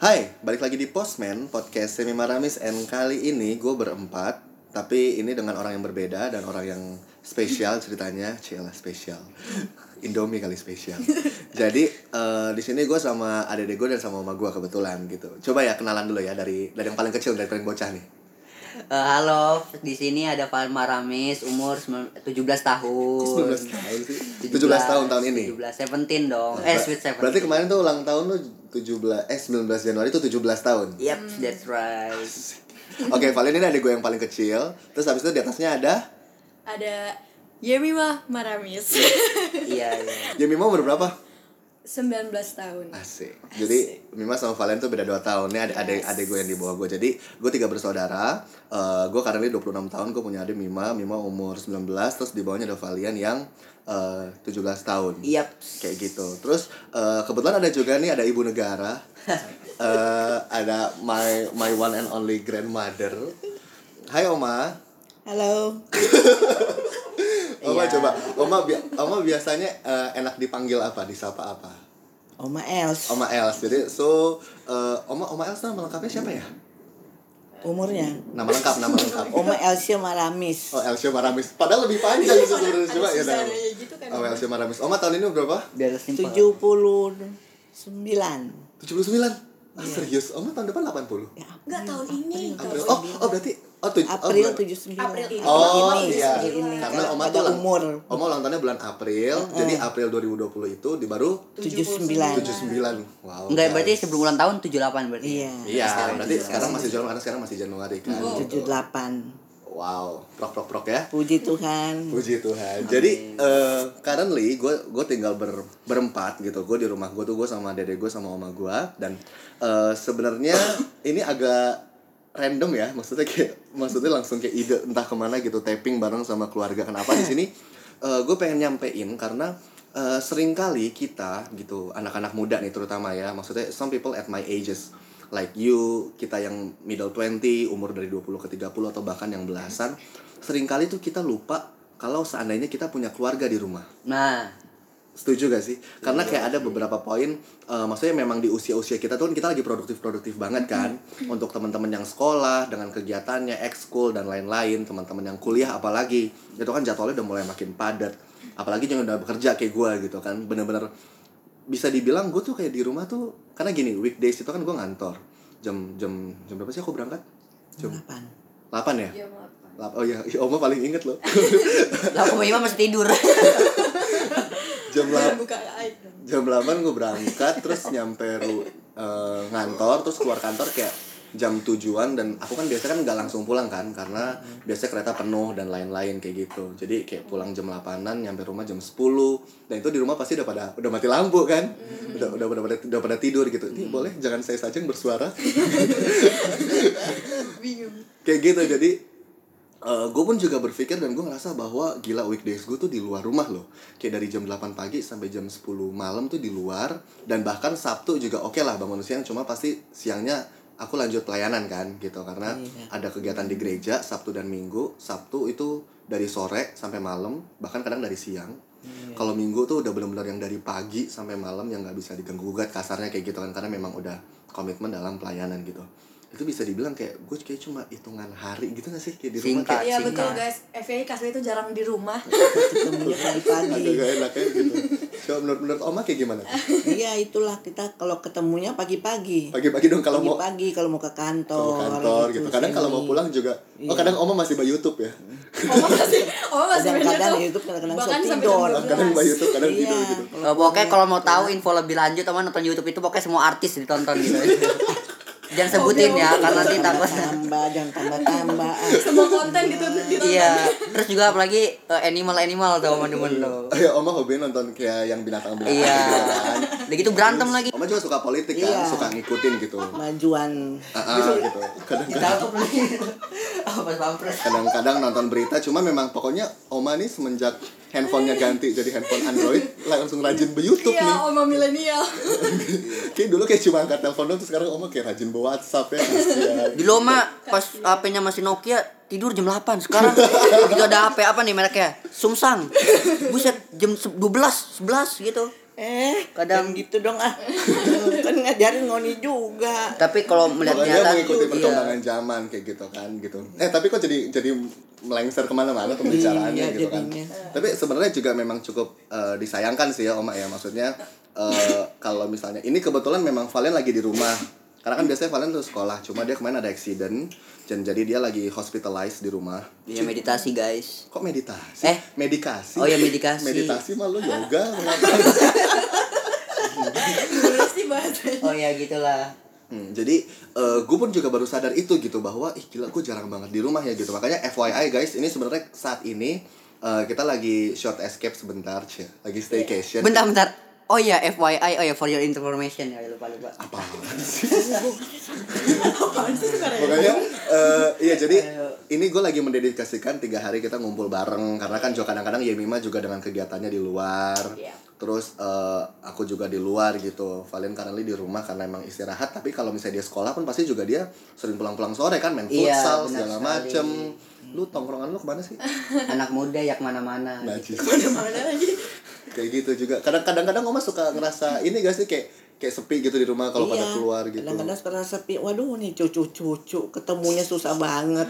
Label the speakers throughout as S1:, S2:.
S1: Hai, balik lagi di Postman, podcast Semi Maramis And kali ini gue berempat Tapi ini dengan orang yang berbeda dan orang yang spesial ceritanya Cila spesial Indomie kali spesial Jadi eh, di sini gue sama adek gue dan sama mama gue kebetulan gitu Coba ya kenalan dulu ya dari dari yang paling kecil, dari paling bocah nih
S2: Eh, halo, di sini ada Palma Ramis, umur sembilan- 17 tahun.
S1: 19 tahun sih 17 tahun tahun ini
S2: 17, 17 dong. Eh, sweet 17.
S1: Berarti kemarin tuh ulang tahun lu 17, eh 19 Januari tuh 17 tahun
S2: Yep, that's right.
S1: Oke, Valen ini adek gue yang paling kecil Terus habis itu di atasnya ada
S3: ada Yemima Maramis
S2: Iya, iya.
S1: Yemima umur berapa?
S3: 19 tahun
S1: Asik. Jadi Mima sama Valen tuh beda 2 tahun. Ini ada ada ada gue yang di bawah gue. Jadi gue tiga bersaudara. Eh gue currently 26 tahun. Gue punya adik Mima. Mima umur 19 terus di bawahnya ada Valian yang eh 17 tahun.
S2: Yap.
S1: Kayak gitu. Terus eh, kebetulan ada juga nih ada ibu negara. Eh ada my my one and only grandmother. Hai Oma.
S4: Halo,
S1: Oma
S2: Iya.
S1: coba. Oma bi- Oma biasanya eh, enak dipanggil apa? Disapa apa?
S4: Oma Els.
S1: Oma Els. Jadi so eh, Oma Oma Els nama lengkapnya siapa ya?
S4: Umurnya?
S1: Nama lengkap, nama lengkap.
S4: Oma Elsia Maramis.
S1: Oh, Elsia Maramis. Padahal lebih panjang itu sebenarnya
S3: Ada
S1: coba ya. Dam.
S3: susananya gitu kan
S1: Oh, Elsia Maramis. Oma tahun ini berapa?
S2: Biar
S1: iya.
S2: simpel.
S4: 79.
S1: 79. Ah, serius. Oma tahun depan 80.
S4: Ya,
S3: nggak Iya, tahun ini
S1: April. Oh, oh berarti oh tuj- oh,
S4: April
S1: bulan-
S4: 79.
S3: April ini.
S1: Oh
S3: Ini,
S1: iya,
S3: ini.
S1: karena Oma
S4: Pada
S1: tuh lang-
S4: umur.
S1: Oma ulang tahunnya bulan April, jadi April 2020 itu di baru
S4: 79.
S1: 79. Wow.
S2: Enggak,
S1: guys.
S2: berarti sebelum ulang tahun 78 berarti. ya?
S4: Iya. Iya.
S1: Iya, berarti sekarang masih Januari karena sekarang masih Januari kan. gitu.
S4: 78.
S1: Wow, prok prok prok ya.
S4: Puji Tuhan.
S1: Puji Tuhan. Jadi eh currently gue gue tinggal ber berempat gitu. Gue di rumah gue tuh gue sama dede gue sama oma gue dan eh, sebenarnya ini agak random ya. Maksudnya kayak maksudnya langsung kayak ide entah kemana gitu tapping bareng sama keluarga. Kenapa di sini gue pengen nyampein karena eh, seringkali kita gitu anak-anak muda nih terutama ya. Maksudnya some people at my ages like you, kita yang middle 20, umur dari 20 ke 30 atau bahkan yang belasan, seringkali tuh kita lupa kalau seandainya kita punya keluarga di rumah.
S2: Nah,
S1: Setuju gak sih? Karena kayak ada beberapa poin eh, maksudnya memang di usia-usia kita tuh kan kita lagi produktif-produktif banget kan untuk teman-teman yang sekolah dengan kegiatannya ekskul dan lain-lain, teman-teman yang kuliah apalagi. Itu kan jadwalnya udah mulai makin padat. Apalagi yang udah bekerja kayak gue gitu kan. Bener-bener bisa dibilang gue tuh kayak di rumah tuh karena gini, weekdays itu kan gue ngantor. Jam jam jam berapa sih aku berangkat? Jam
S4: 8.
S1: 8 ya?
S3: Iya, maaf.
S1: Lap- Oh iya, iya, Oma paling inget loh.
S2: lah aku Ima masih tidur.
S1: jam 8
S3: Baru buka aib dong.
S1: jam 8 gue berangkat terus nyampe ru- eh, ngantor terus keluar kantor kayak jam tujuan dan aku kan biasanya kan nggak langsung pulang kan karena biasanya kereta penuh dan lain-lain kayak gitu jadi kayak pulang jam 8an nyampe rumah jam 10 dan itu di rumah pasti udah pada udah mati lampu kan udah udah udah pada udah pada tidur gitu ini boleh jangan saya saja yang bersuara
S3: bingung
S1: kayak gitu jadi gue pun juga berpikir dan gue ngerasa bahwa gila weekdays gue tuh di luar rumah loh kayak dari jam 8 pagi sampai jam 10 malam tuh di luar dan bahkan sabtu juga oke lah bangun siang cuma pasti siangnya aku lanjut pelayanan kan gitu karena
S4: Iya.
S1: ada kegiatan di gereja sabtu dan minggu sabtu itu dari sore sampai malam bahkan kadang dari siang kalau minggu tuh udah benar-benar yang dari pagi sampai malam yang nggak bisa diganggu gugat kasarnya kayak gitu kan karena memang udah komitmen dalam pelayanan gitu itu bisa dibilang kayak gue kayak cuma hitungan hari gitu nggak sih kayak di rumah
S2: Singkat.
S1: kayak
S3: iya
S2: Singkat.
S3: betul guys FYI kasih itu jarang di rumah
S1: Iya.
S4: Ketemunya pagi-pagi.
S1: agak gak enak kayak gitu coba menurut menurut oma kayak gimana tuh?
S4: Iya, itulah kita kalau ketemunya pagi-pagi.
S1: pagi-pagi dong kalau mau
S4: Pagi-pagi kalau mau ke
S1: kalau
S4: kantor.
S1: mau kantor gitu kadang kalau mau pulang juga oh
S4: Iya.
S1: kadang oma masih by YouTube ya
S3: Oma masih Oma Oh, masih
S4: Kadang-kadang
S3: banyak
S4: YouTube, kadang-kadang
S3: Bahkan
S4: suka
S3: sampai jam
S4: tidur.
S3: dua belas.
S1: kadang by YouTube kadang
S4: Iya.
S1: tidur gitu
S2: Eh, pokoknya kalau mau tahu info lebih lanjut, teman nonton YouTube itu pokoknya semua artis ditonton gitu. Jangan
S4: Oh,
S2: sebutin
S4: iya.
S2: ya, karena nanti takut.
S4: tambah, jangan tambah-tambah. Ah,
S3: semua konten gitu ditonton
S2: Iya, terus juga apalagi eh, animal-animal
S4: Iya.
S2: tuh teman-teman lo.
S1: ya oma hobi nonton kayak yang binatang-binatang
S2: Iya.
S1: gitu kan
S2: Udah gitu berantem lagi.
S1: oma juga suka politik kan
S4: Iya.
S1: suka ngikutin gitu
S4: Majuan.
S1: Ah, ah, gitu kadang-kadang
S2: Ditangkap lagi. Apa pampres?
S1: kadang-kadang nonton berita cuma memang pokoknya Oma nih semenjak handphonenya ganti jadi handphone Android langsung rajin be YouTube
S3: iya
S1: nih
S3: Oma milenial
S1: kayak dulu kayak cuma angkat telepon doang terus sekarang Oma kayak rajin be WhatsApp ya kasihan.
S2: Dulu mah pas HP-nya masih Nokia tidur jam 8 sekarang begitu ada HP apa nih mereknya Sumsang buset jam se- 12 11 gitu
S4: Eh,
S2: Kadang-
S4: kadang gitu dong ah. kan ngajarin ngoni juga.
S2: Tapi kalau melihat
S1: Makanya
S2: nyata
S1: mengikuti
S2: iya.
S1: perkembangan zaman kayak gitu kan gitu. Eh tapi kok jadi jadi melengser kemana-mana pembicaraannya
S4: Iya,
S1: gitu kan.
S4: jadinya.
S1: Tapi sebenarnya juga memang cukup eh, disayangkan sih ya Oma ya maksudnya eh, kalau misalnya ini kebetulan memang Valen lagi di rumah. Karena kan biasanya Valen tuh sekolah, cuma dia kemarin ada accident dan jadi dia lagi hospitalized di rumah.
S2: Iya meditasi guys.
S1: Kok meditasi?
S2: Eh?
S1: Medikasi.
S2: Oh ya meditasi.
S1: Meditasi mah lu yoga.
S3: Gimana sih bahasanya?
S2: Oh ya gitulah.
S1: Hmm, jadi gue pun juga baru sadar itu gitu bahwa ih gila gue jarang banget di rumah ya gitu makanya FYI guys ini sebenarnya saat ini eh, kita lagi short escape sebentar cie lagi staycation
S2: Bentar bentar. Oh ya FYI, oh ya for your information ya lupa lupa.
S1: Apaan?
S4: Oh,
S3: Apaan sih sebenarnya?
S1: makanya eh, iya jadi ini gue lagi mendedikasikan tiga hari kita ngumpul bareng karena kan juga kadang-kadang Yemima juga dengan kegiatannya di luar
S3: Iya.
S1: terus eh, aku juga di luar gitu Valen currently di rumah karena emang istirahat tapi kalau misalnya dia sekolah pun pasti juga dia sering pulang-pulang sore kan main
S2: Iya,
S1: futsal
S2: benar
S1: segala
S2: sekali.
S1: macem lu tongkrongan lu kemana sih
S2: Anak muda yang mana-mana.
S1: Najis.
S3: Kemana-mana lagi?
S1: kayak gitu juga kadang- kadang-kadang oma suka ngerasa ini gak sih kayak kayak sepi gitu di rumah kalau
S2: Iya.
S1: pada keluar gitu
S4: Iya. Kadang-kadang sekarang sepi. Waduh, nih cucu-cucu ketemunya susah banget.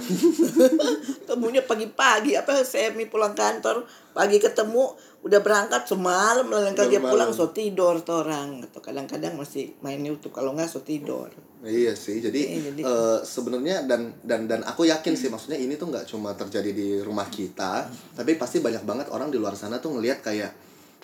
S4: ketemunya pagi-pagi apa semi pulang kantor, pagi ketemu udah berangkat semalam lengkap dia
S1: Baru
S4: pulang
S1: malam.
S4: so tidur tuh orang gitu. Kadang-kadang masih main YouTube kalau nggak so tidur.
S1: Iya sih, jadi,
S4: Iya, jadi-
S1: eh, sebenarnya dan dan dan aku yakin sih maksudnya ini tuh nggak cuma terjadi di rumah kita, tapi pasti banyak banget orang di luar sana tuh ngelihat kayak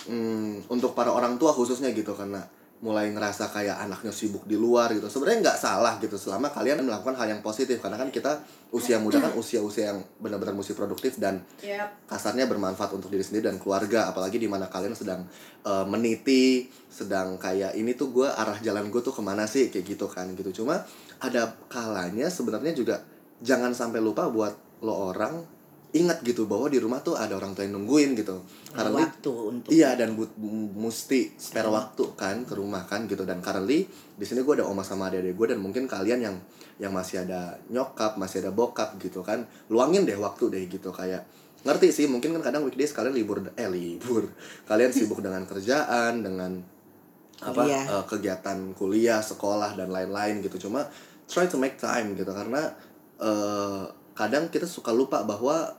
S1: hmm, untuk para orang tua khususnya gitu karena mulai ngerasa kayak anaknya sibuk di luar gitu. Sebenarnya nggak salah gitu selama kalian melakukan hal yang positif karena kan kita usia muda kan usia-usia yang benar-benar mesti produktif dan
S3: Yap.
S1: kasarnya bermanfaat untuk diri sendiri dan keluarga apalagi di mana kalian sedang eh, meniti sedang kayak ini tuh gue arah jalan gue tuh kemana sih kayak gitu kan gitu cuma ada kalanya sebenarnya juga jangan sampai lupa buat lo orang ingat gitu bahwa di rumah tuh ada orang tua yang nungguin gitu
S4: Ada
S1: karena
S4: waktu untuk
S1: Iya dan but, m- mesti spare waktu kan ke rumah kan gitu dan currently di sini gue ada oma sama adik gue dan mungkin kalian yang yang masih ada nyokap masih ada bokap gitu kan luangin deh waktu deh gitu kayak ngerti sih mungkin kan kadang weekdays kalian libur eh libur kalian sibuk dengan kerjaan dengan apa
S4: Kuliah.
S1: eh, kegiatan kuliah sekolah dan lain-lain gitu cuma try to make time gitu karena eh, kadang kita suka lupa bahwa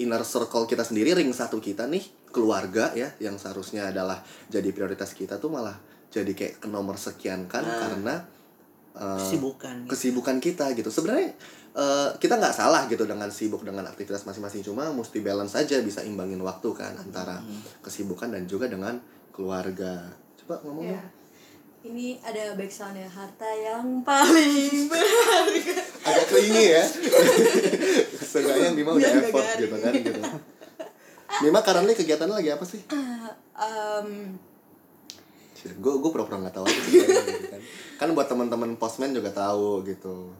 S1: inner circle kita sendiri ring satu kita nih keluarga ya yang seharusnya adalah jadi prioritas kita tuh malah jadi kayak ke nomor sekian kan karena eh,
S4: Nah. kesibukan.
S1: kesibukan kita gitu sebenarnya eh, kita nggak salah gitu dengan sibuk dengan aktivitas masing-masing cuma mesti balance aja bisa imbangin waktu kan antara
S4: Hmm.
S1: kesibukan dan juga dengan keluarga coba ngomong
S3: Ya.
S4: Oh.
S1: dong.
S3: Ini ada backsoundnya harta yang paling berharga.
S1: agak klingi ya seenggaknya Bima udah
S4: Biar nggak
S1: effort
S4: garing.
S1: gitu kan gitu Bima currently kegiatannya lagi apa sih
S3: Em,
S1: gue gue pura-pura nggak tahu aja sebenarnya gitu kan kan buat teman-teman postman juga tahu gitu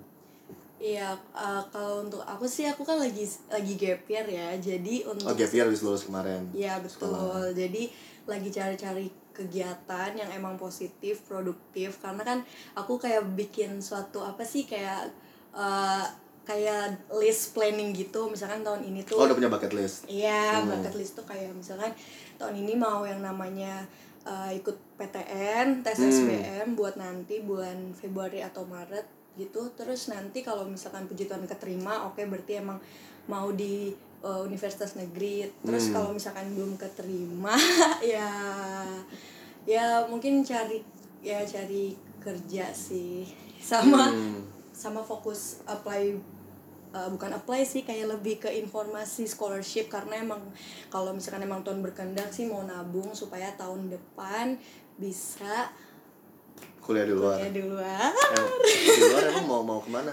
S3: Iya, eh, kalau untuk aku sih aku kan lagi lagi gap year ya. Jadi untuk
S1: oh gap year habis lulus kemarin
S3: Iya betul.
S1: Sekolah.
S3: Jadi lagi cari-cari kegiatan yang emang positif, produktif karena kan aku kayak bikin suatu apa sih kayak eh, kayak list planning gitu. Misalkan tahun ini tuh
S1: oh udah punya bucket list
S3: Iya,
S1: Hmm.
S3: bucket list tuh kayak misalkan tahun ini mau yang namanya uh, ikut PTN, tes
S1: Hmm.
S3: SBM buat nanti bulan Februari atau Maret gitu. Terus nanti kalau misalkan puji Tuhan keterima, oke berarti emang mau di uh, universitas negeri. Terus
S1: Hmm.
S3: kalau misalkan belum keterima, ya ya mungkin cari ya cari kerja sih sama
S1: Hmm.
S3: sama fokus apply eh, bukan apply sih kayak lebih ke informasi scholarship karena emang kalau misalkan emang Tuhan berkehendak sih mau nabung supaya tahun depan bisa
S1: kuliah di luar
S3: kuliah di luar
S1: Em- di luar emang mau mau kemana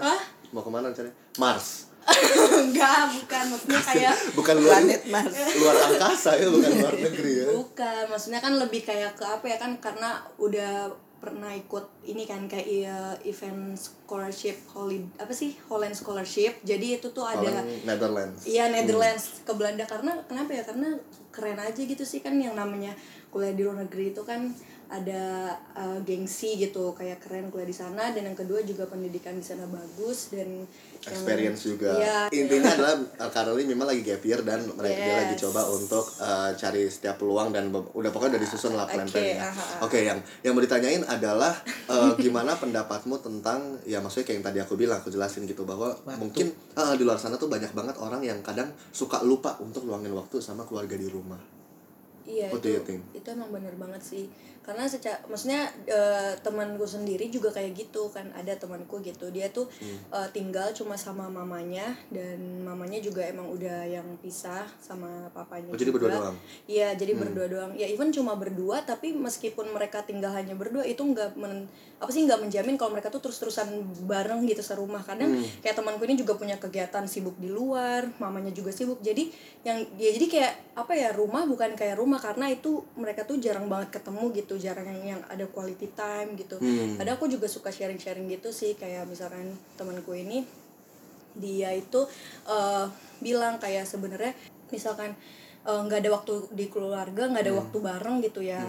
S1: mau kemana rencananya Mars
S3: enggak bukan maksudnya kayak
S1: bukan luar
S4: Planet Mars.
S1: luar angkasa ya bukan luar negeri ya
S3: bukan maksudnya kan lebih kayak ke apa ya kan karena udah pernah ikut ini kan kayak eh, event scholarship Holland apa sih Holland scholarship jadi itu tuh ada
S1: Orang Netherlands
S3: Iya Netherlands ke Belanda karena kenapa ya karena keren aja gitu sih kan yang namanya kuliah di luar negeri itu kan ada eh, gengsi gitu kayak keren kuliah di sana dan yang kedua juga pendidikan di sana bagus dan yang-
S1: experience juga
S3: Iya,
S1: intinya adalah uh, Carly memang lagi gap year dan mereka dia
S3: Yes.
S1: lagi coba untuk uh, cari setiap peluang dan be- udah pokoknya udah disusun lah
S3: Oke,
S1: plan
S3: aha,
S1: plannya
S3: aha.
S1: oke yang yang mau ditanyain adalah uh, gimana pendapatmu tentang ya maksudnya kayak yang tadi aku bilang aku jelasin gitu bahwa
S4: Waktu.
S1: mungkin uh, di luar sana tuh banyak banget orang yang kadang suka lupa untuk luangin waktu sama keluarga di rumah
S3: Iya
S1: What do
S3: itu,
S1: you think?
S3: itu emang bener banget sih Karena secara, maksudnya eh, temanku sendiri juga kayak gitu kan Ada temanku gitu, dia tuh
S1: Hmm.
S3: eh, tinggal cuma sama mamanya Dan mamanya juga emang udah yang pisah sama papanya
S1: Oh, jadi
S3: juga.
S1: berdua doang?
S3: Iya jadi berdua doang Ya even cuma berdua tapi meskipun mereka tinggal hanya berdua Itu nggak men, apa sih nggak menjamin kalau mereka tuh terus-terusan bareng gitu serumah Kadang kayak temanku ini juga punya kegiatan sibuk di luar Mamanya juga sibuk Jadi yang ya jadi kayak apa ya rumah bukan kayak rumah karena itu mereka tuh jarang banget ketemu gitu jarang yang, yang ada quality time gitu ada aku juga suka sharing sharing gitu sih kayak misalkan temanku ini dia itu eh, bilang kayak sebenarnya misalkan eh, nggak ada waktu di keluarga nggak
S1: Hmm.
S3: ada waktu bareng gitu ya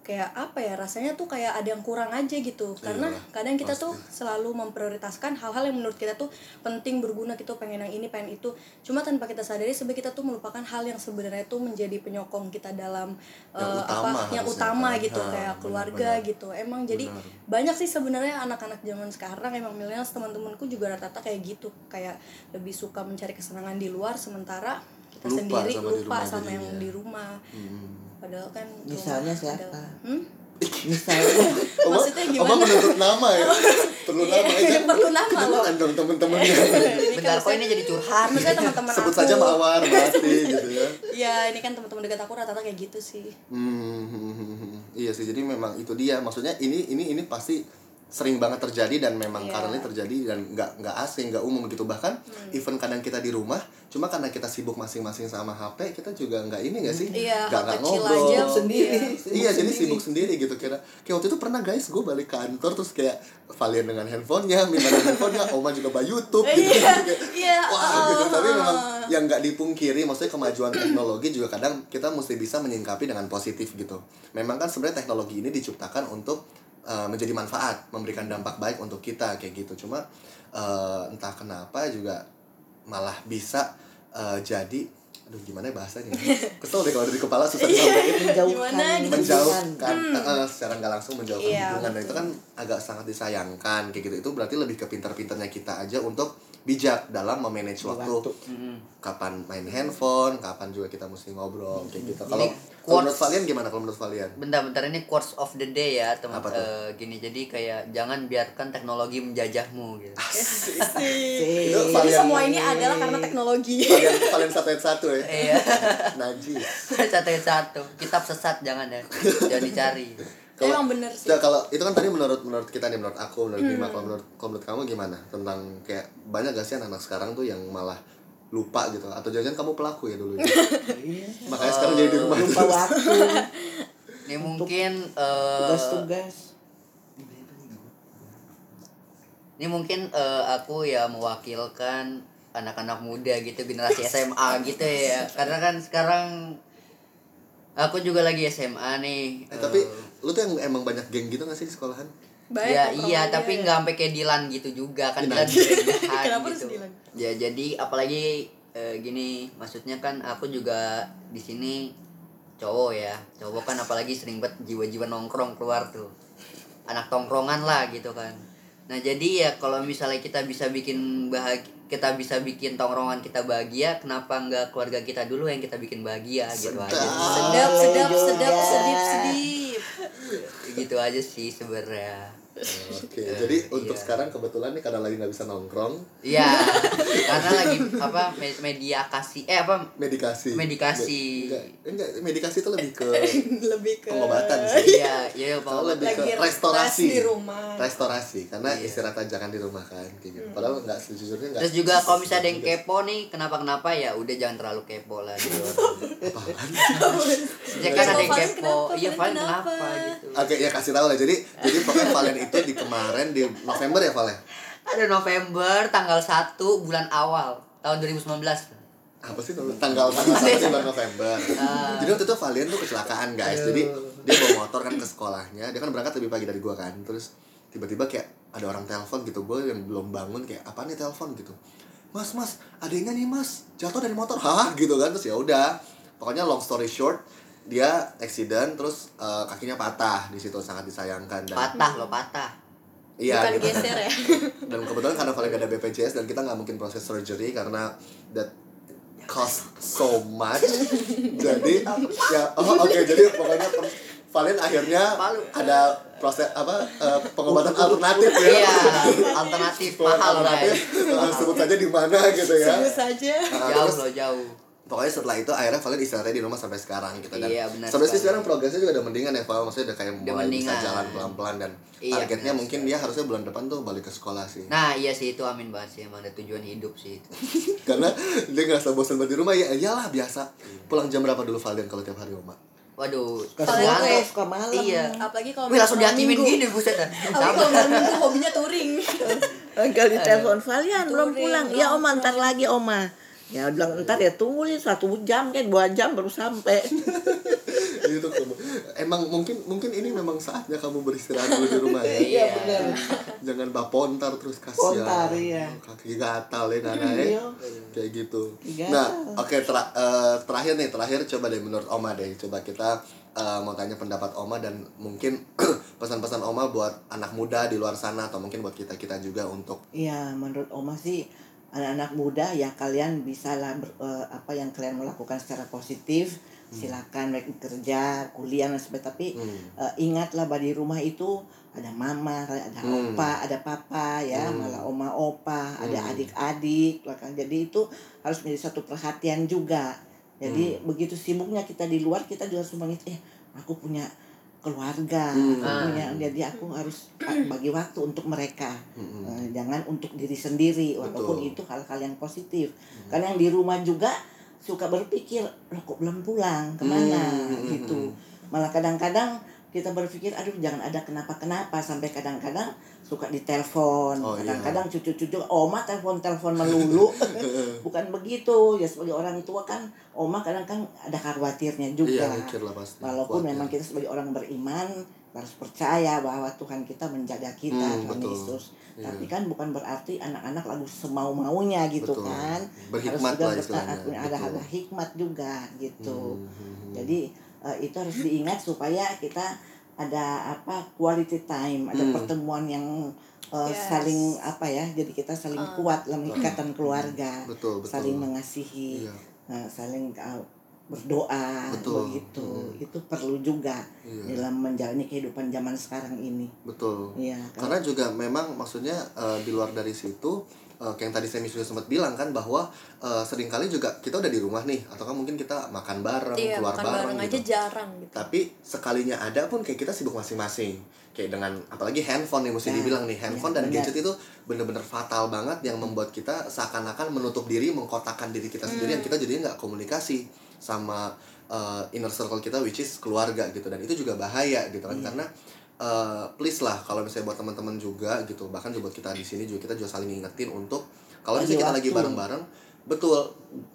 S3: kayak apa ya rasanya tuh kayak ada yang kurang aja gitu karena
S1: Iyalah,
S3: kadang kita tuh selalu memprioritaskan hal-hal yang menurut kita tuh penting berguna gitu pengen yang ini pengen itu cuma tanpa kita sadari sebenarnya kita tuh melupakan hal yang sebenarnya tuh menjadi penyokong kita dalam
S1: Yang
S3: eh,
S1: utama
S3: apa yang
S1: harusnya
S3: utama
S1: kan.
S3: gitu
S1: Ha,
S3: kayak
S1: benar,
S3: keluarga
S1: benar.
S3: gitu emang jadi banyak sih sebenarnya anak-anak zaman sekarang emang milenial teman-temanku juga rata-rata kayak gitu kayak lebih suka mencari kesenangan di luar sementara kita
S1: Lupa
S3: sendiri
S1: sama di
S3: lupa
S1: rumah
S3: sama yang
S1: jadinya.
S3: di rumah
S1: Hmm.
S3: padahal kan rumah
S4: Misalnya
S3: adalah-
S4: siapa?
S3: hmm?
S4: misalnya
S1: Oma,
S3: Maksudnya gimana?
S1: Oma menuntut nama ya perlu nama
S3: Iya,
S1: ya
S3: perlu nama loh.
S1: kebetulan dong temen-temennya
S3: Jadi kan
S2: Bentar kok ini jadi curhat.
S3: maksudnya teman-teman
S1: sebut
S3: aku
S1: saja mawar mati gitu ya
S3: ya ini kan teman-teman dekat aku rata-rata kayak gitu sih
S1: Hmm, iya sih. Jadi memang itu dia. Maksudnya ini ini ini pasti sering banget terjadi dan memang
S3: Iya.
S1: currently terjadi dan nggak nggak asing nggak umum gitu bahkan
S3: Hmm.
S1: even kadang kita di rumah cuma karena kita sibuk masing-masing sama HP kita juga nggak ini nggak sih
S3: Iya,
S1: nggak
S3: hal
S1: nggak
S3: kecil
S1: ngobrol
S3: aja.
S4: sendiri
S1: iya jadi sibuk sendiri gitu kira kayak waktu itu pernah guys gue balik kantor terus kayak Valian dengan handphonenya Mima dengan handphonenya Oma juga by YouTube gitu
S3: Iya,
S1: Kayak,
S3: iya,
S1: wah gitu tapi memang yang nggak dipungkiri maksudnya kemajuan teknologi juga kadang kita mesti bisa menyingkapi dengan positif gitu memang kan sebenarnya teknologi ini diciptakan untuk uh, menjadi manfaat memberikan dampak baik untuk kita kayak gitu cuma uh, entah kenapa juga malah bisa uh, jadi aduh gimana ya bahasanya kesel deh kalau dari kepala susah disampaikan
S4: menjauhkan
S3: Gimana gitu?
S1: menjauhkan
S2: Hmm.
S1: eh, secara nggak langsung menjauhkan
S3: Iya,
S1: hubungan dan itu kan agak sangat disayangkan kayak gitu itu berarti lebih ke pinter-pinternya kita aja untuk bijak dalam memanage waktu,
S4: Waktu.
S1: kapan main handphone kapan juga kita mesti ngobrol kayak gitu kalau kalau
S2: Iya. quotes.
S1: menurut kalian gimana kalau menurut kalian
S2: Bentar-bentar ini quotes of the day ya teman
S1: Apa tuh?
S2: Eh, gini jadi kayak jangan biarkan teknologi menjajahmu gitu.
S4: Sih.
S1: Itu
S3: jadi
S1: Valian-
S3: semua ini adalah karena teknologi
S1: kalian kalian satu ayat satu ya
S2: Iya.
S1: najis
S2: satu satu kitab sesat jangan ya jangan dicari
S3: emang bener sih
S1: Nah, kalau itu kan tadi menurut menurut kita nih menurut aku menurut Bima
S2: Hmm.
S1: kalau menurut kalau menurut kamu gimana tentang kayak banyak gak sih anak-anak sekarang tuh yang malah lupa gitu atau jangan kamu pelaku ya dulu ya? makanya sekarang jadi di rumah
S4: Iya. lupa waktu
S2: ini mungkin eh,
S4: tugas-tugas
S2: ini mungkin eh, aku ya mewakilkan anak-anak muda gitu generasi SMA gitu ya karena kan sekarang aku juga lagi SMA nih
S1: Eh, tapi lu tuh yang emang banyak geng gitu gak sih di sekolahan
S3: Baik,
S2: ya
S3: nongkrong
S2: iya
S3: aja
S2: tapi
S3: ya.
S2: nggak sampai kayak Dilan gitu juga kan
S1: Dilan.
S2: Dilan berlebihan
S3: Kenapa harus
S2: gitu
S3: Dilan?
S2: ya jadi apalagi eh, gini maksudnya kan aku juga di sini cowok ya cowok kan apalagi sering banget jiwa-jiwa nongkrong keluar tuh anak tongkrongan lah gitu kan nah jadi ya kalau misalnya kita bisa bikin bahagia kita bisa bikin tongkrongan kita bahagia kenapa nggak keluarga kita dulu yang kita bikin bahagia gitu aja
S3: sedap sedap
S4: Ayo
S3: sedap
S4: juga.
S3: sedip sedip
S2: gitu aja sih sebenarnya
S1: Oke, jadi untuk sekarang kebetulan nih karena lagi nggak bisa nongkrong,
S2: Iya, karena lagi apa me- media kasih eh apa
S1: medikasi.
S2: Medikasi.
S1: Med- enggak, enggak, medikasi itu lebih ke
S3: lebih ke
S1: pengobatan sih.
S2: iya iya
S1: Kalau
S2: pengobatan.
S1: lebih ke
S3: Lagi
S1: restorasi.
S3: restorasi di rumah.
S1: Restorasi, karena istirahat jangan di rumah kan, kayak gitu. Padahal nggak sejujurnya nggak.
S2: Iya. Hmm. Terus juga kalau misalnya ada yang kepo nih, kenapa-kenapa ya udah jangan terlalu kepo lah gitu. ya kan ada yang
S3: Valen
S2: kepo,
S3: kenapa?
S2: iya Valen
S3: Valen
S2: kenapa
S3: kenapa?
S2: gitu.
S1: Oke, ya kasih tahu lah. Jadi, jadi pokoknya Valen itu di kemarin di November ya Valen.
S2: Ada November tanggal 1 bulan awal tahun 2019.
S1: apa sih namanya? tanggal tanggal satu sih bulan November
S3: Ah.
S1: jadi waktu itu Valian tuh kecelakaan guys jadi dia bawa motor kan ke sekolahnya dia kan berangkat lebih pagi dari gua kan terus tiba-tiba kayak ada orang telepon gitu gua yang belum bangun kayak apa nih telepon gitu mas mas adanya nih mas jatuh dari motor hah gitu kan terus ya udah pokoknya long story short dia accident terus eh, kakinya patah di situ sangat disayangkan dan
S2: patah lo patah
S1: iya
S3: bukan
S1: gitu.
S3: geser ya
S1: dan kebetulan karena paling gak ada BPJS dan kita nggak mungkin proses surgery karena that cost so much jadi ya oh, oke jadi pokoknya per- Valen akhirnya
S2: Palu.
S1: ada proses apa eh, pengobatan alternatif ya
S2: iya alternatif
S1: Pengobatan
S2: mahal
S1: alternatif
S2: guys
S1: eh, sebut saja di mana gitu ya
S3: sebut saja
S1: Nah,
S2: jauh
S1: terus
S2: lo jauh
S1: pokoknya setelah itu akhirnya Valen istirahatnya di rumah sampai sekarang gitu dan
S2: Iya, benar
S1: sampai
S2: sekali.
S1: sekarang progresnya juga udah mendingan ya Val maksudnya udah kayak mulai
S2: Udah
S1: bisa
S2: mendingan.
S1: jalan pelan-pelan dan
S2: Iya,
S1: targetnya
S2: benar
S1: mungkin dia harusnya bulan depan tuh balik ke sekolah sih
S2: nah iya sih itu amin banget sih emang ada tujuan hidup sih itu
S1: karena dia ngerasa bosan banget di rumah ya iyalah biasa pulang jam berapa dulu Valen kalau tiap hari Oma
S2: waduh
S4: Kalau
S2: tergantung.
S4: gue suka malam.
S2: iya
S3: apalagi kalau
S2: Wih langsung
S3: malam
S2: dihakimin
S3: minggu.
S2: gini buset dah.
S3: apalagi
S2: Sama.
S3: kalau malam minggu hobinya touring
S4: Kali Eh, telepon Valian belum
S3: Touring,
S4: pulang.
S3: belum
S4: Ya Oma ntar lagi Oma. Ya bilang ntar ya tunggu nih satu jam kayak dua jam baru sampai.
S1: itu kamu emang mungkin mungkin ini memang saatnya kamu beristirahat dulu di rumah ya
S2: Iya.
S1: jangan bapontar terus kasihan
S4: Pontar, iya.
S1: kaki gatal ya nana ya
S4: Iya.
S1: kayak gitu
S4: Gatal.
S1: nah oke tera- eh, terakhir nih terakhir coba deh menurut Oma deh coba kita eh, mau tanya pendapat Oma dan mungkin pesan-pesan Oma buat anak muda di luar sana atau mungkin buat kita kita juga untuk
S4: Iya, menurut Oma sih anak-anak muda ya kalian bisalah ber- eh, apa yang kalian mau lakukan secara positif. Silakan baik kerja, kuliah dan sebagainya tapi
S1: Hmm.
S4: eh, ingatlah bahwa di rumah itu ada mama, ada
S1: Hmm.
S4: opa, ada papa ya,
S1: Hmm.
S4: malah oma opa, ada
S1: Hmm.
S4: adik-adik, bahkan jadi itu harus menjadi satu perhatian juga. Jadi
S1: Hmm.
S4: begitu sibuknya kita di luar kita juga harus mengingat eh aku punya keluarga,
S1: Hmm.
S4: aku punya
S1: Ah.
S4: jadi aku harus ah, bagi waktu untuk mereka.
S1: Mm-mm.
S4: Eh, jangan untuk diri sendiri walaupun
S1: Hmm. Betul. Hmm.
S4: itu hal-hal yang positif karena yang di rumah juga suka berpikir loh kok belum pulang kemana
S1: Hmm.
S4: gitu malah kadang-kadang kita berpikir aduh jangan ada kenapa-kenapa sampai kadang-kadang suka ditelepon
S1: Oh, iya.
S4: kadang-kadang cucu-cucu oma telepon-telepon melulu bukan begitu ya sebagai orang tua kan oma kadang-kadang ada khawatirnya juga
S1: iya mikir lah pasti
S4: Walaupun
S1: Kuat,
S4: memang
S1: ya.
S4: kita sebagai orang beriman harus percaya bahwa Tuhan kita menjaga kita,
S1: Hmm,
S4: Tuhan
S1: betul.
S4: Yesus.
S1: Iya.
S4: Tapi kan bukan berarti anak-anak lagu semau-maunya gitu
S1: Betul.
S4: kan.
S1: berhikmat
S4: harus juga
S1: lah
S4: bertaat,
S1: istilahnya
S4: ada
S1: Betul.
S4: ada hikmat juga gitu.
S1: Hmm, hmm, hmm.
S4: Jadi eh, itu harus diingat supaya kita ada apa quality time, ada
S1: Hmm.
S4: pertemuan yang eh,
S3: Yes.
S4: saling apa ya. Jadi kita saling
S3: Eh.
S4: kuat dalam ikatan keluarga,
S1: betul betul
S4: ya, saling mengasihi
S1: iya,
S4: nah, saling uh, berdoa
S1: Betul.
S4: begitu
S1: Hmm.
S4: itu perlu juga
S1: iya,
S4: dalam menjalani kehidupan zaman sekarang ini
S1: betul
S4: ya
S1: karena juga memang maksudnya eh, di luar dari situ eh, kayak yang tadi saya sudah sempat bilang kan bahwa eh, seringkali juga kita udah di rumah nih atau kan mungkin kita makan bareng
S3: iya
S1: keluar
S3: makan bareng aja
S1: gitu.
S3: jarang gitu
S1: tapi sekalinya ada pun kayak kita sibuk masing-masing kayak dengan apalagi handphone nih mesti
S4: Nah,
S1: dibilang nih handphone
S4: iya,
S1: dan
S4: benar.
S1: gadget itu bener-bener fatal banget yang membuat kita seakan-akan menutup diri mengkotakkan diri
S4: Hmm.
S1: kita sendiri yang kita jadinya nggak komunikasi sama uh, inner circle kita which is keluarga gitu dan itu juga bahaya gitu
S4: Iya.
S1: kan karena uh, please lah kalau misalnya buat teman-teman juga gitu bahkan juga buat kita di sini juga kita juga saling ngingetin untuk kalau
S4: Bagi
S1: misalnya kita lagi
S4: waktu.
S1: bareng-bareng betul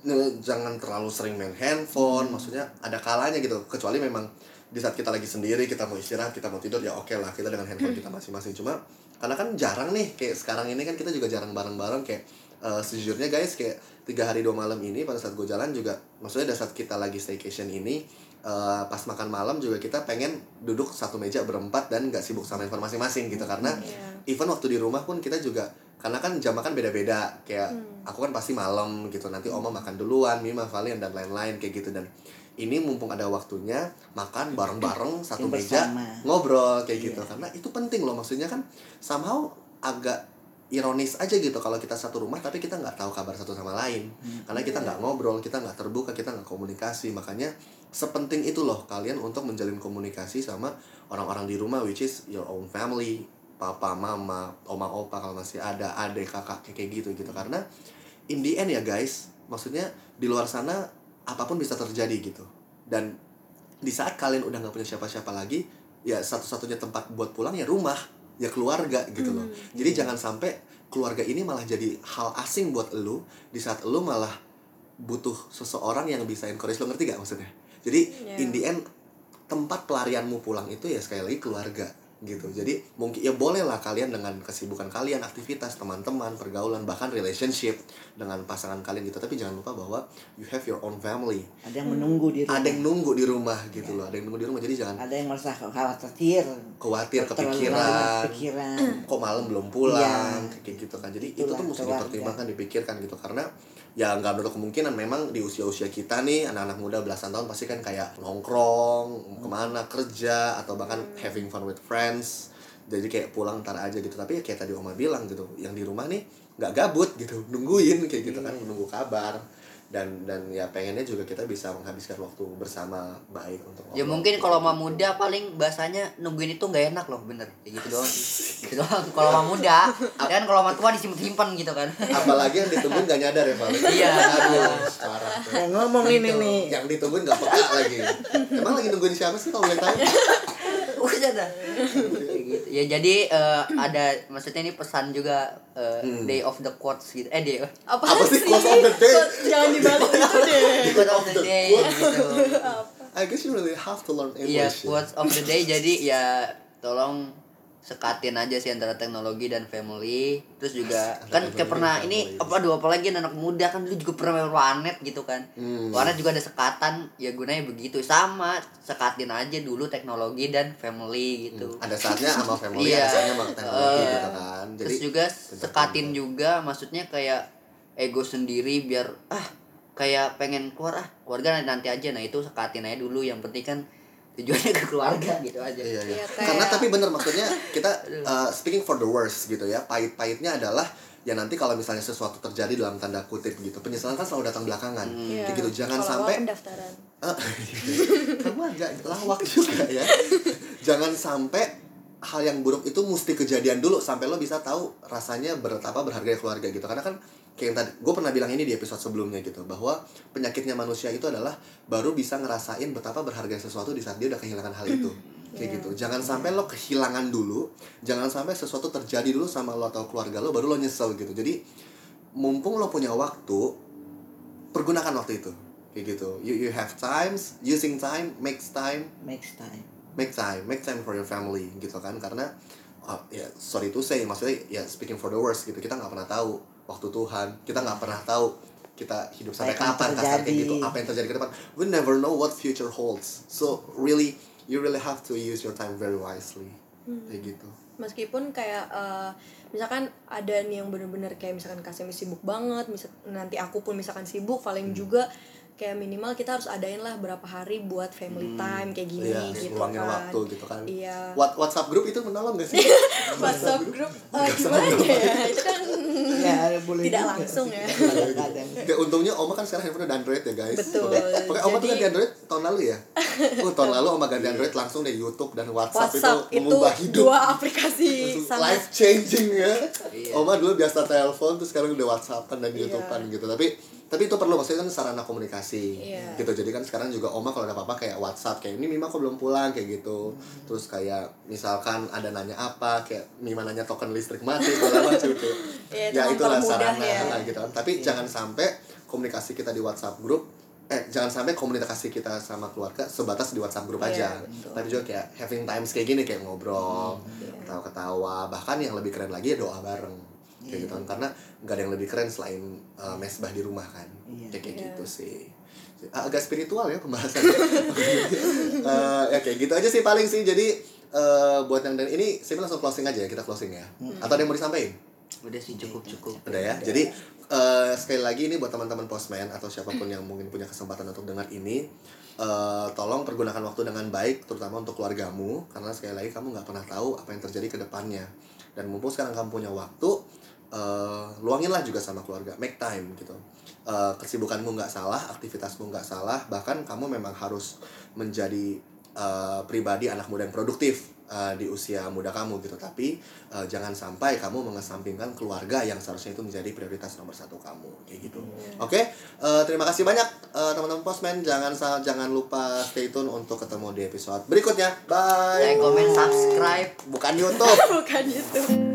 S1: ne- jangan terlalu sering main handphone maksudnya ada kalanya gitu kecuali memang di saat kita lagi sendiri kita mau istirahat kita mau tidur ya oke lah kita dengan handphone kita masing-masing cuma karena kan jarang nih kayak sekarang ini kan kita juga jarang bareng-bareng kayak eh, sejujurnya guys kayak tiga hari dua malam ini pada saat gue jalan juga maksudnya pada saat kita lagi staycation ini eh, pas makan malam juga kita pengen duduk satu meja berempat dan nggak sibuk sama handphone masing-masing gitu karena
S3: Iya.
S1: even waktu di rumah pun kita juga karena kan jam makan beda-beda kayak
S3: Hmm.
S1: aku kan pasti malam gitu nanti oma makan duluan Mima Valian dan lain-lain kayak gitu dan ini mumpung ada waktunya makan bareng-bareng satu
S4: Yang
S1: meja
S4: bersama.
S1: ngobrol kayak gitu
S4: Iya.
S1: karena itu penting loh maksudnya kan somehow agak ironis aja gitu kalau kita satu rumah tapi kita nggak tahu kabar satu sama lain
S4: Hmm.
S1: karena kita nggak ngobrol kita nggak terbuka kita nggak komunikasi makanya sepenting itu loh kalian untuk menjalin komunikasi sama orang-orang di rumah which is your own family papa mama oma opa kalau masih ada adik kakak kayak- kayak gitu gitu karena in the end ya guys maksudnya di luar sana apapun bisa terjadi gitu dan di saat kalian udah nggak punya siapa-siapa lagi ya satu-satunya tempat buat pulang ya rumah ya keluarga gitu loh
S3: Hmm.
S1: jadi jangan sampai keluarga ini malah jadi hal asing buat elu di saat elu malah butuh seseorang yang bisa encourage lo ngerti gak maksudnya jadi
S3: Iya.
S1: in the end tempat pelarianmu pulang itu ya sekali lagi keluarga gitu jadi mungkin ya bolehlah kalian dengan kesibukan kalian aktivitas teman-teman pergaulan bahkan relationship dengan pasangan kalian gitu tapi jangan lupa bahwa you have your own family
S4: ada yang menunggu di rumah
S1: ada yang nunggu di rumah gitu loh ada yang nunggu di rumah jadi jangan
S4: ada yang merasa khawatir
S1: khawatir
S4: Iya. terlalu
S1: kepikiran
S4: kepikiran
S1: kok malam belum pulang
S4: Iya.
S1: kayak gitu kan jadi itu
S4: Itulah
S1: tuh mesti
S4: keluarga.
S1: dipertimbangkan dipikirkan gitu karena ya nggak menutup kemungkinan memang di usia-usia kita nih anak-anak muda belasan tahun pasti kan kayak nongkrong kemana kerja atau bahkan
S2: Hmm.
S1: having fun with friends jadi kayak pulang ntar aja gitu tapi ya kayak tadi oma bilang gitu yang di rumah nih nggak gabut gitu nungguin kayak gitu
S2: Iya.
S1: kan menunggu kabar dan dan ya pengennya juga kita bisa menghabiskan waktu bersama baik untuk gitu.
S2: Ya
S1: ngobrol.
S2: mungkin kalau sama muda paling bahasanya nungguin itu nggak enak loh bener Kayak gitu doang Gitu doang kalau sama muda Dan kalau sama tua disimpan-simpan gitu kan
S1: apalagi yang ditungguin gak nyadar ya Val
S2: Iya.
S1: aduh parah
S4: Nah, ngomong ini nih
S1: yang ditungguin gak peka lagi emang lagi nungguin siapa sih kalau boleh tahu
S2: Udah dah. Kayak gitu. Ya jadi eh, ada maksudnya ini pesan juga eh,
S1: Hmm.
S2: Day of the Quotes gitu Eh Day
S3: apa,
S1: Apa sih
S3: sih?
S1: quote of the day?
S3: Kok Jangan dibalik itu deh.
S2: Quote of the Day gitu
S1: I guess you really have to learn
S2: Iya,
S1: English ya.
S2: quotes of the day jadi ya tolong sekatin aja sih antara teknologi dan family. Terus juga kan
S1: Antara
S2: kayak
S1: teknologi
S2: pernah
S1: dan
S2: ini
S1: family.
S2: apa aduh apalagi anak muda kan dulu juga pernah main warnet gitu kan.
S1: Hmm.
S2: Warnet juga ada sekatan, ya gunanya begitu. Sama sekatin aja dulu teknologi dan family gitu.
S1: Hmm. ada saatnya sama family
S2: Iya.
S1: ada saatnya sama teknologi
S2: Eh,
S1: gitu kan jadi
S2: Terus juga sekatin juga maksudnya kayak ego sendiri biar ah kayak pengen keluar ah keluarga nanti aja nah itu sekatin aja dulu yang penting kan tujuannya ke keluarga gitu aja.
S1: Iya, iya.
S3: Iya, kayak-
S1: Karena tapi bener maksudnya kita uh, speaking for the worst gitu ya. Pahit-pahitnya adalah ya nanti kalau misalnya sesuatu terjadi dalam tanda kutip gitu. Penyesalan kan selalu datang belakangan.
S2: Hmm.
S3: Iya.
S1: Kayak gitu jangan
S3: Kalau
S1: sampai
S3: awal pendaftaran.
S1: Ah, kamu agak lawak juga ya jangan sampai hal yang buruk itu mesti kejadian dulu sampai lo bisa tahu rasanya ber, apa berharga keluarga gitu karena kan kayak yang tadi gue pernah bilang ini di episode sebelumnya gitu bahwa penyakitnya manusia itu adalah baru bisa ngerasain betapa berharga sesuatu di saat dia udah kehilangan hal itu kayak gitu jangan sampai lo kehilangan dulu jangan sampai sesuatu terjadi dulu sama lo atau keluarga lo baru lo nyesel gitu jadi mumpung lo punya waktu pergunakan waktu itu kayak gitu you you have times using time makes time
S4: next time
S1: make time make time for your family gitu kan karena oh, ya sorry to say maksudnya ya speaking for the worst gitu kita nggak pernah tahu waktu Tuhan kita nggak pernah tahu kita hidup sampai
S4: Apa yang
S1: kapan kasar kayak
S4: terjadi.
S1: gitu apa yang terjadi ke depan we never know what future holds so really you really have to use your time very wisely
S3: Hmm.
S1: kayak gitu
S3: meskipun kayak eh, misalkan ada nih yang bener-bener kayak misalkan kasih sibuk banget misal nanti aku pun misalkan sibuk paling
S1: Hmm.
S3: juga kayak minimal kita harus adain lah berapa hari buat family time kayak gini
S1: Iya,
S3: gitu kan
S1: luangin waktu gitu kan.
S3: iya
S1: What WhatsApp group itu menolong gak sih?
S3: WhatsApp grup eh, gimana ya itu kan
S4: ya boleh
S3: tidak
S4: juga.
S3: langsung ya
S4: Kadang-kadang.
S1: Ya, untungnya Oma kan sekarang handphone udah Android ya guys.
S3: iya. Betul.
S1: Pokoknya pokoknya Oma tuh
S3: Jadi-
S1: ganti Android tahun lalu ya. Oh tahun lalu Oma ganti Android langsung deh YouTube dan WhatsApp,
S3: WhatsApp
S1: itu
S3: itu,
S1: mengubah hidup.
S3: dua aplikasi
S1: Langsung
S3: sangat
S1: life changing ya.
S2: Iya.
S1: Oma dulu biasa telepon terus sekarang udah WhatsAppan dan
S3: Iya.
S1: YouTubean gitu. Tapi tapi itu perlu maksudnya kan sarana komunikasi
S3: Iya.
S1: gitu. Jadi kan sekarang juga Oma kalau ada apa-apa kayak WhatsApp kayak ini Mima kok belum pulang kayak gitu.
S3: Hmm.
S1: Terus kayak misalkan ada nanya apa kayak Mima nanya token listrik mati segala macam gitu.
S3: Iya, itu
S1: ya itulah
S3: mempermudah
S1: sarana
S3: ya.
S1: lah gitu kan. Tapi jangan sampai komunikasi kita di WhatsApp grup eh jangan sampai komunikasi kita sama keluarga sebatas di WhatsApp grup aja.
S3: Iya,
S1: Tapi juga kayak having times kayak gini kayak ngobrol, ketawa-ketawa, bahkan yang lebih keren lagi ya doa bareng. Kayak gitu
S3: Iya.
S1: kan karena nggak ada yang lebih keren selain uh, mesbah di rumah kan.
S4: Iya.
S1: Kayak kayak
S3: Iya.
S1: gitu sih. Ah, Agak spiritual ya pembahasannya. Eh, ya kayak gitu aja sih paling sih. Jadi eh, buat yang dan ini saya langsung closing aja ya, kita closing ya.
S3: Hmm.
S1: Atau ada yang mau disampaikan?
S2: Udah sih cukup-cukup.
S1: Udah ya. Jadi eh, sekali lagi ini buat teman-teman postman atau siapapun yang mungkin punya kesempatan untuk dengar ini, eh, tolong pergunakan waktu dengan baik, terutama untuk keluargamu, karena sekali lagi kamu nggak pernah tahu apa yang terjadi ke depannya. Dan mumpung sekarang kamu punya waktu, eh, luanginlah juga sama keluarga, make time gitu. Eh, kesibukanmu nggak salah, aktivitasmu nggak salah, bahkan kamu memang harus menjadi eh, pribadi anak muda yang produktif eh, di usia muda kamu gitu. Tapi eh, jangan sampai kamu mengesampingkan keluarga yang seharusnya itu menjadi prioritas nomor satu kamu kayak gitu oke eh, terima kasih banyak eh, teman-teman postman jangan sa- jangan lupa stay tune untuk ketemu di episode berikutnya bye
S2: Like, comment, subscribe.
S1: bukan YouTube
S3: bukan itu